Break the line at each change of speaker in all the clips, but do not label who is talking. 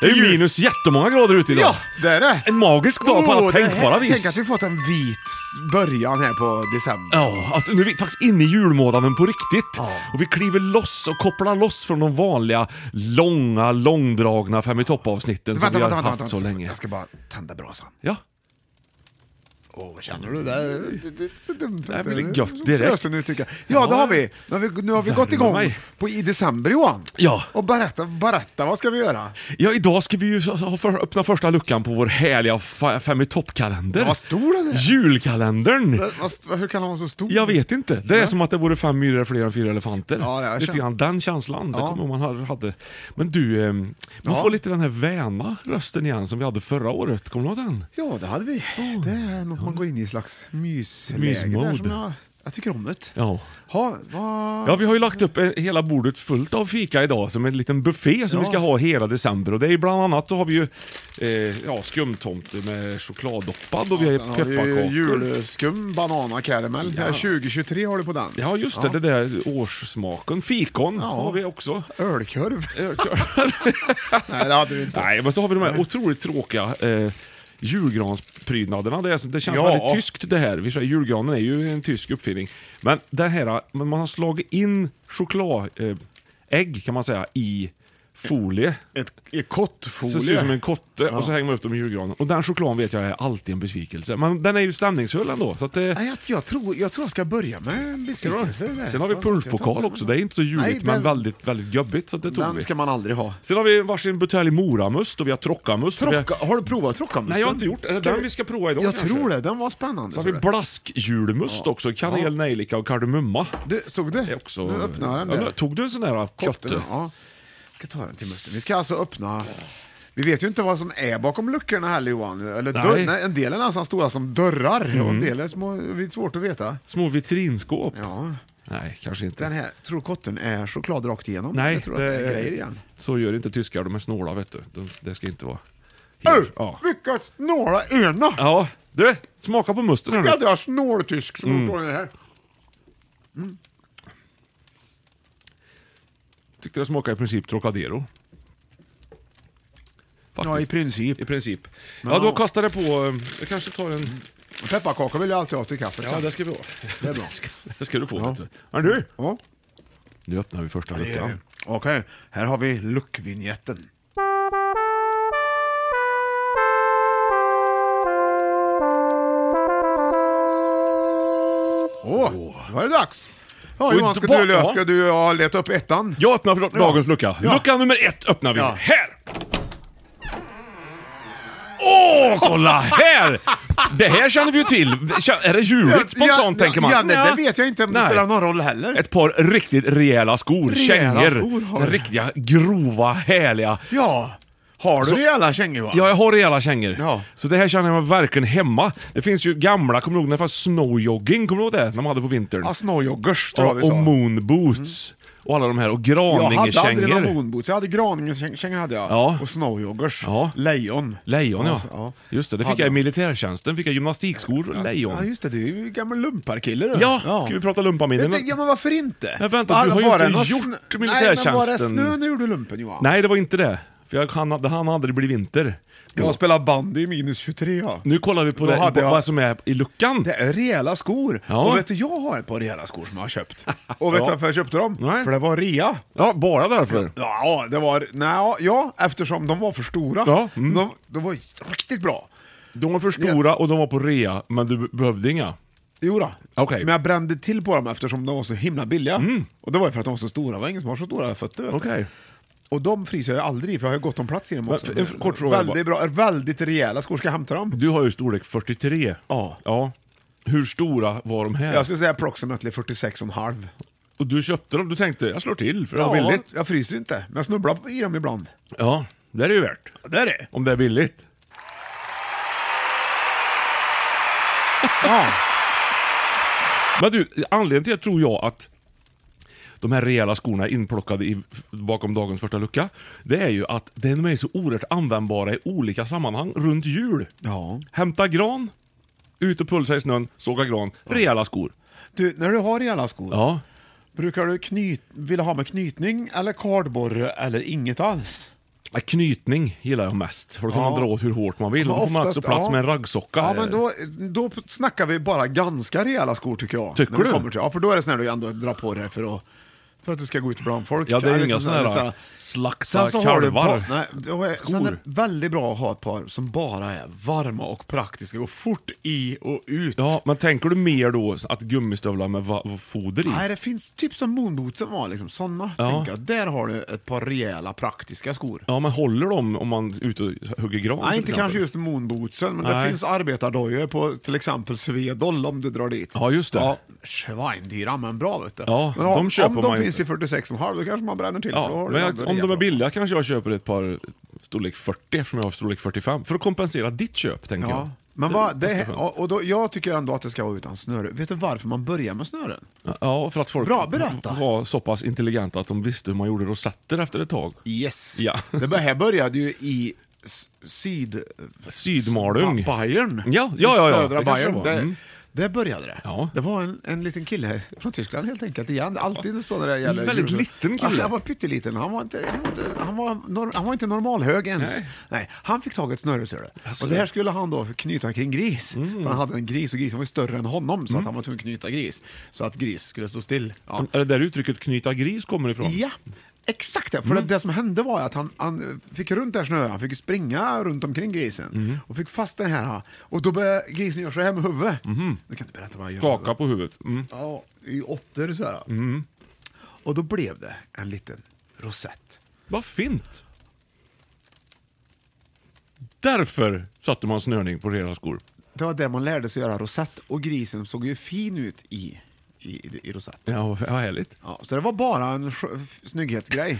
Det är
Till jul.
minus jättemånga grader ute idag.
Ja, det är det!
En magisk dag på
Åh,
alla
det här-
tänkbara vis. Alltså,
Tänk att vi fått en vit början här på december.
Ja, att nu är vi faktiskt inne i julmånaden på riktigt. Och vi kliver loss och kopplar loss från de vanliga långa, långdragna Fem i topp-avsnitten som vi har haft så länge.
Jag ska bara tända brasan.
Ja.
Åh, vad känner du? Det är, det, det är så dumt.
Det här blir gött direkt.
Frösen Nu, tycker jag. Ja, det har vi. Nu har vi, nu har vi gått
Värmer
igång
mig.
på, i december Johan.
Ja.
Och berätta, berätta, vad ska vi göra?
ja, idag ska vi ju ha för, öppna första luckan på vår härliga fa- Fem i topp-kalender.
Vad stor den är.
Julkalendern!
Vad- vad- Hur kan den vara så stor?
Jag vet inte. Det är som att det vore fem myror fler än fyra elefanter.
Ja, jag
lite
känner-
grann den känslan.
Ja.
Det kommer man ha- hade. Men du, eh, man får lite den här väna rösten igen som vi hade förra året. Kommer du ihåg den?
Ja, det hade vi. Det är något man går in i slags mysläge där
Mysmode.
som jag, jag tycker om det.
Ja.
Ha, vad...
Ja, vi har ju lagt upp eh, hela bordet fullt av fika idag som en liten buffé som vi
Ja.
ska ha hela december. Och det är ju bland annat så har vi ju eh, ja, skumtomte med chokladdoppad och vi har
Sen har vi
pepparkakor.
ju julskum, banana caramel. Det här 2023 har du på den.
Ja, just det. Det där årssmaken. Fikon
Ja.
har vi också.
Ölkorv.
Ölkör.
Nej, det hade vi inte.
Nej, men så har vi de här otroligt tråkiga eh, julgransprydnaderna. Det, är, som- det känns
Ja.
väldigt tyskt det här. Vi säger, julgranen är ju en tysk uppfinning. Men det här, eh, men man har slagit in chokladägg eh, ägg, kan man säga i folie.
Ett, ett
Så det ser ut
kottfolie.
som en kotte och så hänger man upp dem i julgranen. Och den chokladen vet jag är alltid en besvikelse. Men den är ju stämningsfull ändå. Så att det,
Nej, jag, jag, tror, jag tror jag ska börja med en besvikelse. där.
sen har vi
Jag- jag
punschpokal
tror-
också. Det är inte så juligt
Nej, den-
men väldigt, väldigt gubbigt. Så att det tog vi.
Den ska man aldrig ha.
Sen har vi varsin butelj moramust och vi har trockamust. och vi har-
Trocka, har du provat trockamusten?
Nej, jag har inte gjort det. Är det
Ska
den vi ska prova idag
Jag
kanske?
tror det. Den var spännande.
Så har vi
tror jag.
blaskjulmust också, kanel, nejlika och kardemumma.
Du, såg du?
Det är också...
Nu öppnar den
Ja, nu-
där.
Tog du en sån där
Kotten,
kotte?
Ja. Jag ska ta den till musten. Vi ska alltså öppna... Vi vet ju inte vad som är bakom luckorna här Johan. Eller
Nej. Mm.
dörr, nej, en del är nästan stora som dörrar och en del är små, det är svårt att veta.
Små vitrinskåp?
Ja,
Nej, kanske inte.
den här, tror du kotten är choklad rakt igenom?
Nej,
jag tror att det är grejer igen.
Så gör inte tyskar, de är snåla vet du. De, det ska inte vara...
Ö,
Heder. Ja.
Lyckas snåla ena!
ja, du! Smaka på musten här nu.
Ja, det är snåltysk som mm. det här.
Tyckte det smakade i princip Trocadero. Faktiskt.
Ja, i princip.
I princip. Ja, då kastar det på... eh, Jag kanske tar en...
Pepparkakor vill jag alltid ha till kaffet.
Ja, det ska vi ha.
det är bra.
Det ska du få vet du. Men du!
Ja.
Nu öppnar vi första luckan.
Okej, här har vi luckvinjetten. Åh, då var det dags! Ja,
Och
Johan, ska
ba-
du,
ja.
eller ska du ja, leta upp ettan?
Jag öppnar för dagens lucka.
Ja.
Lucka nummer ett öppnar vi.
Ja.
Här! Åh, kolla här! Det här känner vi ju till. Kä- Är det juligt spontant tänker man?
Ja, nej,
Nja.
det vet jag inte om det
Nej.
spelar någon roll heller.
Ett par riktigt rejäla skor,
Rejäla
kängor.
skor har jag.
riktiga, grova, härliga.
Ja, Har
Så-
du det i alla kängor? Johan?
Ja, jag har rejäla kängor.
Ja.
Så det här känner jag mig verkligen hemma. Det finns ju gamla, kommer du ihåg när det fanns snowjogging? Kommer du ihåg det? När man hade på vintern.
Ja, snowjoggers tror jag
och,
vi
och
sa.
moonboots. Och alla de här. Och
Jag hade aldrig några
graningekängor.
moonboots, jag hade graningekängor hade jag.
Ja.
Och snowjoggers.
Ja.
Lejon.
Lejon ja. Just det, det fick
Hade
jag i militärtjänsten. fick jag gymnastikskor och lejon.
Ja just det, du är ju gammal lumparkille du.
Ja, ska vi prata lumpaminnen?
Jag tänker, Ja men varför inte?
Men vänta,
Var-
du har ju
var
inte
det någon
gjort
snö- Nej
militärtjänsten.
men var det snö när du gjorde lumpen Johan?
Nej, det var inte det. För jag, han, hade- han hade det blivit vinter.
Jag spelar bandy i minus 23 ja.
Nu kollar vi på,
Då
det,
hade
på
jag-
vad som är i luckan.
Det är rejäla skor.
Ja.
Och vet du, jag har ett par rejäla skor som jag har köpt. Och vet
Ja.
du varför jag köpte dem?
Nej.
För det var rea.
Ja, bara därför.
Ja, det var... Nej, ja, eftersom de var för stora.
Ja, mm.
De, de var riktigt bra.
De var för stora och de var på rea, men du behövde inga.
Jo då.
Okej. Mm.
Men jag brände till på dem eftersom de var så himla billiga. Och det var ju för att de var så stora. Det var ingen som har så stora fötter. Vet du.
Okej.
Och de fryser jag ju aldrig i, för jag har ju gott om plats i dem
Men,
också.
en kort fråga
väldigt bra, väldigt rejäla skor. Ska jag hämta dem?
Du har ju storlek 43.
Ja.
ja. Hur stora var de här?
Jag skulle säga approximately 46,5.
Och du köpte dem, du tänkte jag slår till för det var
Ja,
billigt.
jag fryser inte, men jag snubblar i dem ibland.
Ja, det är det ju värt.
Ja, det är det.
Om det är billigt.
Ja.
Men du, anledningen till det tror jag att de här rejäla skorna är inplockade i, bakom dagens första lucka, det är ju att de är så oerhört användbara i olika sammanhang runt jul.
Ja.
Hämta gran, ut och pulsa i snön, såga gran, rejäla skor.
Du, när du har rejäla skor,
Ja.
brukar du knyt, vilja ha med knytning eller kardborre eller inget alls?
Ja, Knytning gillar jag mest, för då kan
Ja.
man dra åt hur hårt man vill.
Men
Då får man
oftast-
också plats
ja.
med en raggsocka.
Ja, men då, då snackar vi bara ganska rejäla skor tycker jag.
Tycker
när det
du?
Kommer till, ja, för då är det sådär du ändå drar på dig för att, för att du ska gå ut bland folk.
Ja, det är ju
Eller
inga
som
sådana
sådana-
här slakta
Sen så har du
kalvar.
par, nej, då är, sen är det väldigt bra att ha ett par som bara är varma och praktiska, går fort i och ut.
Ja, men tänker du mer då att gummistövlar med va- va- foder i?
Nej, det finns typ som moonboots som var liksom, sådana.
Ja.
tänker jag. Där har du ett par rejäla praktiska skor.
Ja, men håller de om man är ute och hugger gran?
Nej,
till
inte
exempel?
kanske just moonbootsen, men
Nej.
det finns arbetardojor på till exempel Svedol om du drar dit.
Ja, just det.
Ja, svindyra men bra vet du.
Ja,
men, om-
de köper
om
man
de
ju
finns
inte.
i 46,5 då kanske man bränner till. för då
Ja,
har du
men
ändå
jag, om de
rejäla.
är billiga kanske jag köper ett par storlek 40 eftersom jag har storlek 45. För att kompensera ditt köp, tänker
Ja.
jag.
Men vad, det, och och då, jag tycker ändå att det ska vara utan snöre. Vet du varför man börjar med snören?
Ja, för att folk
Bra, berätta.
var så pass intelligenta att de visste hur man gjorde rosetter efter ett tag.
Yes.
Ja.
Det bör- här började ju i s- syd...
Sydmalung.
Bayern.
Ja, ja, ja, ja.
I
Det
Södra
kanske det
Bayern.
var.
Där,
Mm.
där började det.
Ja.
Det var en, en liten kille från Tyskland helt enkelt igen. Alltid så när det gäller...
En väldigt
jul.
liten kille.
Ja, Han var pytteliten. Han var inte, han var inte, han var norm, han var inte normalhög ens.
Nej.
Nej. han fick tag i ett snöre ser du.
Alltså. Mm.
Och det här skulle han då knyta kring gris. För han hade en gris och grisen var ju större än honom så att han var tvungen att knyta gris. Så att gris skulle stå still. Ja.
Är det där uttrycket knyta gris kommer ifrån?
Ja, exakt det. För det, det som hände var att han, han fick runt det här snöret, han fick springa runt omkring grisen och fick fast den här. Och då började grisen göra så här med huvudet. Jag kan inte berätta vad jag gör.
Skaka på huvudet. Mm.
Ja, i åttor så här. Och då blev det en liten rosett.
Vad fint! Därför satte man snörning på rena skor.
Det var där man lärde sig göra rosett och grisen såg ju fin ut i, i, i rosett.
Ja, vad härligt.
Ja, så det var bara en sk- snygghetsgrej.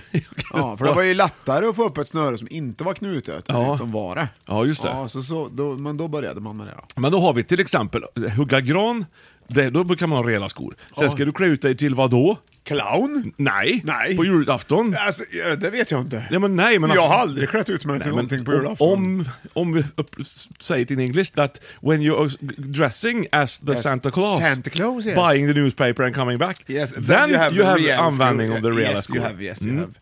Ja, för det var ju lättare att få upp ett snöre som inte var knutet än
Ja.
ett som var det.
Ja, just det.
Ja, så, så, då, men då började man med det då.
Men då har vi till exempel hugga gran, det, då brukar man ha rejäla skor. Sen ska du klä ut dig till vad då?
Clown?
Nej,
Nej.
på julafton.
Alltså, ja, det vet jag inte.
Ja, men nej, men
jag
alltså-
har aldrig klätt ut mig till
Nej, men
någonting på
om-
julafton.
Om, om vi upp, say it in English, that when you're dressing as the
Yes.
Santa Claus,
Santa Claus, yes.
buying the newspaper and coming back,
Yes,
then,
then,
you have,
the real
användning
school.
of the real
yes,
school.
You have, yes, you
Mm.
have.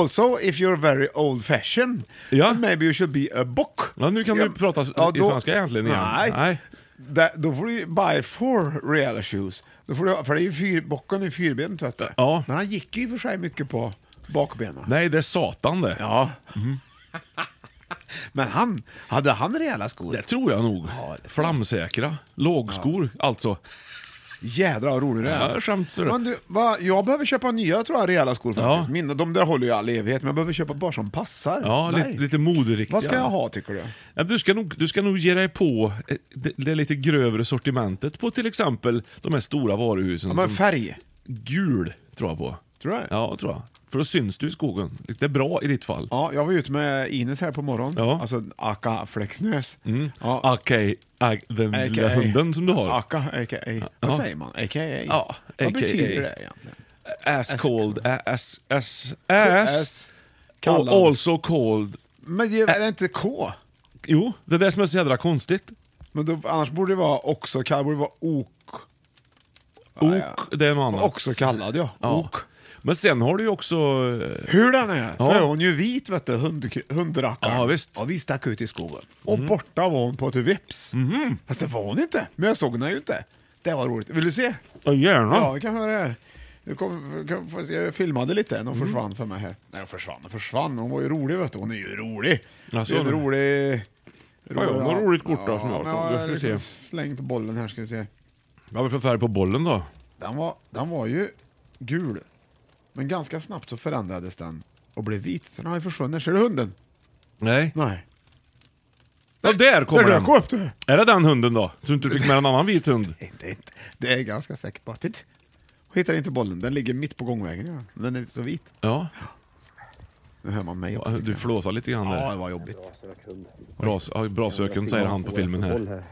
Also, if you're very old fashioned,
Ja.
then maybe you should be a book.
Ja, nu kan du prata s- i svenska egentligen igen.
Nej.
Nej.
Da, då får du ju buy four reala shoes. Då får du, för det är ju fyr, bocken är ju fyrbent, vet du.
Ja.
Men han gick ju i och för sig mycket på bakbenen.
Nej, Mm. det är satan det.
Ja. Men han, hade han rejäla skor?
Det tror jag nog. Flamsäkra, lågskor, alltså.
Jädrar vad rolig du
Ja,
är.
jag skämtar du.
Men du, va, jag behöver köpa nya tror jag, rejäla skor faktiskt.
Ja.
Mina, de där håller ju all evighet, men jag behöver köpa bara som passar.
Ja,
Nej.
lite, lite Alltså- moderiktiga.
Vad ska jag ha tycker du?
Ja, Du ska, nog, du ska nog ge dig på eh, det, det lite grövre sortimentet på till exempel de här stora varuhusen.
Ja, men
som-
färg.
gul, tror jag på.
Tror du det?
Ja, tror jag. För då syns du i skogen. Det är bra i ditt fall.
Ja, jag var ute med Ines här på morgonen,
Ja.
alltså Aka Flexnäs. Ja.
Okej, ag- den lilla
AKA.
hunden som du har.
Aka, a.k.a. Vad
Ja.
säger man? A.k.a.
Ja,
Vad
AKA.
betyder det egentligen?
As cold, a- as, as, as,
S.
och
Kallad.
also cold.
Men det är det inte K?
Jo, det är det som är så jädra konstigt.
Men då, annars borde det vara också kallad, borde det vara ok.
Ok,
ja.
det är något annat.
Också kallad ja.
Ja.
Ok.
Men sen har du ju också... eh,
Hur den är, så
Ja.
är hon ju vit vet du, hund, hundrackaren.
Ja, visst. Mm.
vi stack ut i skogen. Och borta var hon på ett vips.
Mhm.
Fast det var hon inte, men jag såg henne ju inte. Det var roligt. Vill du se?
Ja, gärna.
Ja, vi kan höra det här. Nu kom, kan, få se, jag filmade lite,
Mhm.
de försvann för mig här. Nej, de försvann och försvann. Hon var ju rolig vet du. Hon är ju rolig.
Jaså,
det är en
nu.
rolig...
ja, det var roligt kort då, som jag har.
men jag
Då
har
ska vi se.
liksom slängt bollen här ska vi se.
Vad har vi för färg på bollen då?
Den var, den var ju gul. Men ganska snabbt så förändrades den och blev vit. Så den har ju försvunnit. Ser du hunden?
Nej.
Nej.
Ja, där kommer
Där
den.
dök upp du!
Är det den hunden då? Så du inte fick med en annan vit hund?
Inte, inte. Det är jag ganska säker på. Titt. Hon hittar inte bollen. Den ligger mitt på gångvägen. Ja. Den är så vit.
Ja.
Nu hör man mig
Ja,
också.
Du flåsar lite grann
Ja,
där.
det var jobbigt.
Bra, ja, bra söken säger han på filmen här.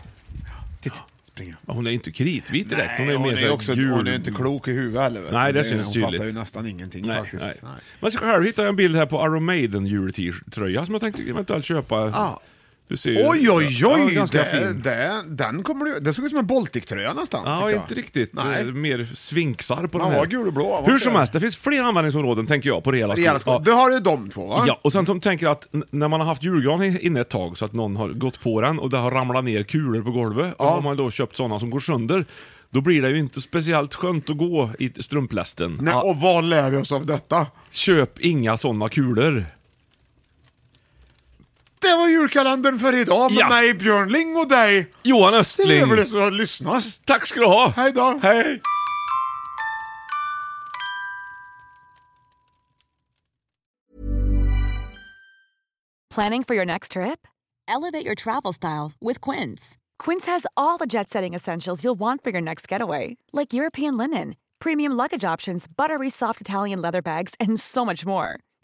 Titt, springer
Ja, Hon är inte kritvit direkt. Hon är
hon
mer
är
så här
också,
gul.
Hon är inte klok i huvudet heller. vet du.
Nej, det syns
hon
tydligt.
fattar ju nästan ingenting
Nej,
faktiskt.
nej.
Nej.
Men själv hittade jag en bild här på Iron Maiden jultröja som jag tänkte eventuellt köpa.
Ah.
Du ser ju-
Oj, oj,
Ja,
oj!
ganska
det,
fin.
det, den kommer du, det såg ut som en Baltic-tröja nästan.
Ja,
tycker jag.
inte riktigt.
Nej.
Eh, Mer svinksar på
Man
den här.
var gul och blå, var
Hur
inte
som
det?
helst, det finns fler användningsområden tänker jag på rejäla skor.
Rejäla skor. Du har ju de två va?
Ja. ja, och sen som tänker att n- när man har haft julgran i- inne ett tag så att någon har gått på den och det har ramlat ner kulor på golvet. Och om man då köpt sådana som går sönder, då blir det ju inte speciellt skönt att gå i strumplästen.
Nej,
Ja,
och vad lär vi oss av detta?
Köp inga sådana kulor.
Det var julkalendern för idag med
Ja.
mig, Björn Ling och dig.
Johan
Det är väl det
Östling!
som lyssnas.
Tack ska du ha!
Hej då.
Hej!
Planning for your next trip? Elevate your travel style with Quince. Quince has all the jet setting essentials you'll want for your next getaway, like European linen, premium luggage options, buttery soft Italian leather bags, and so much more.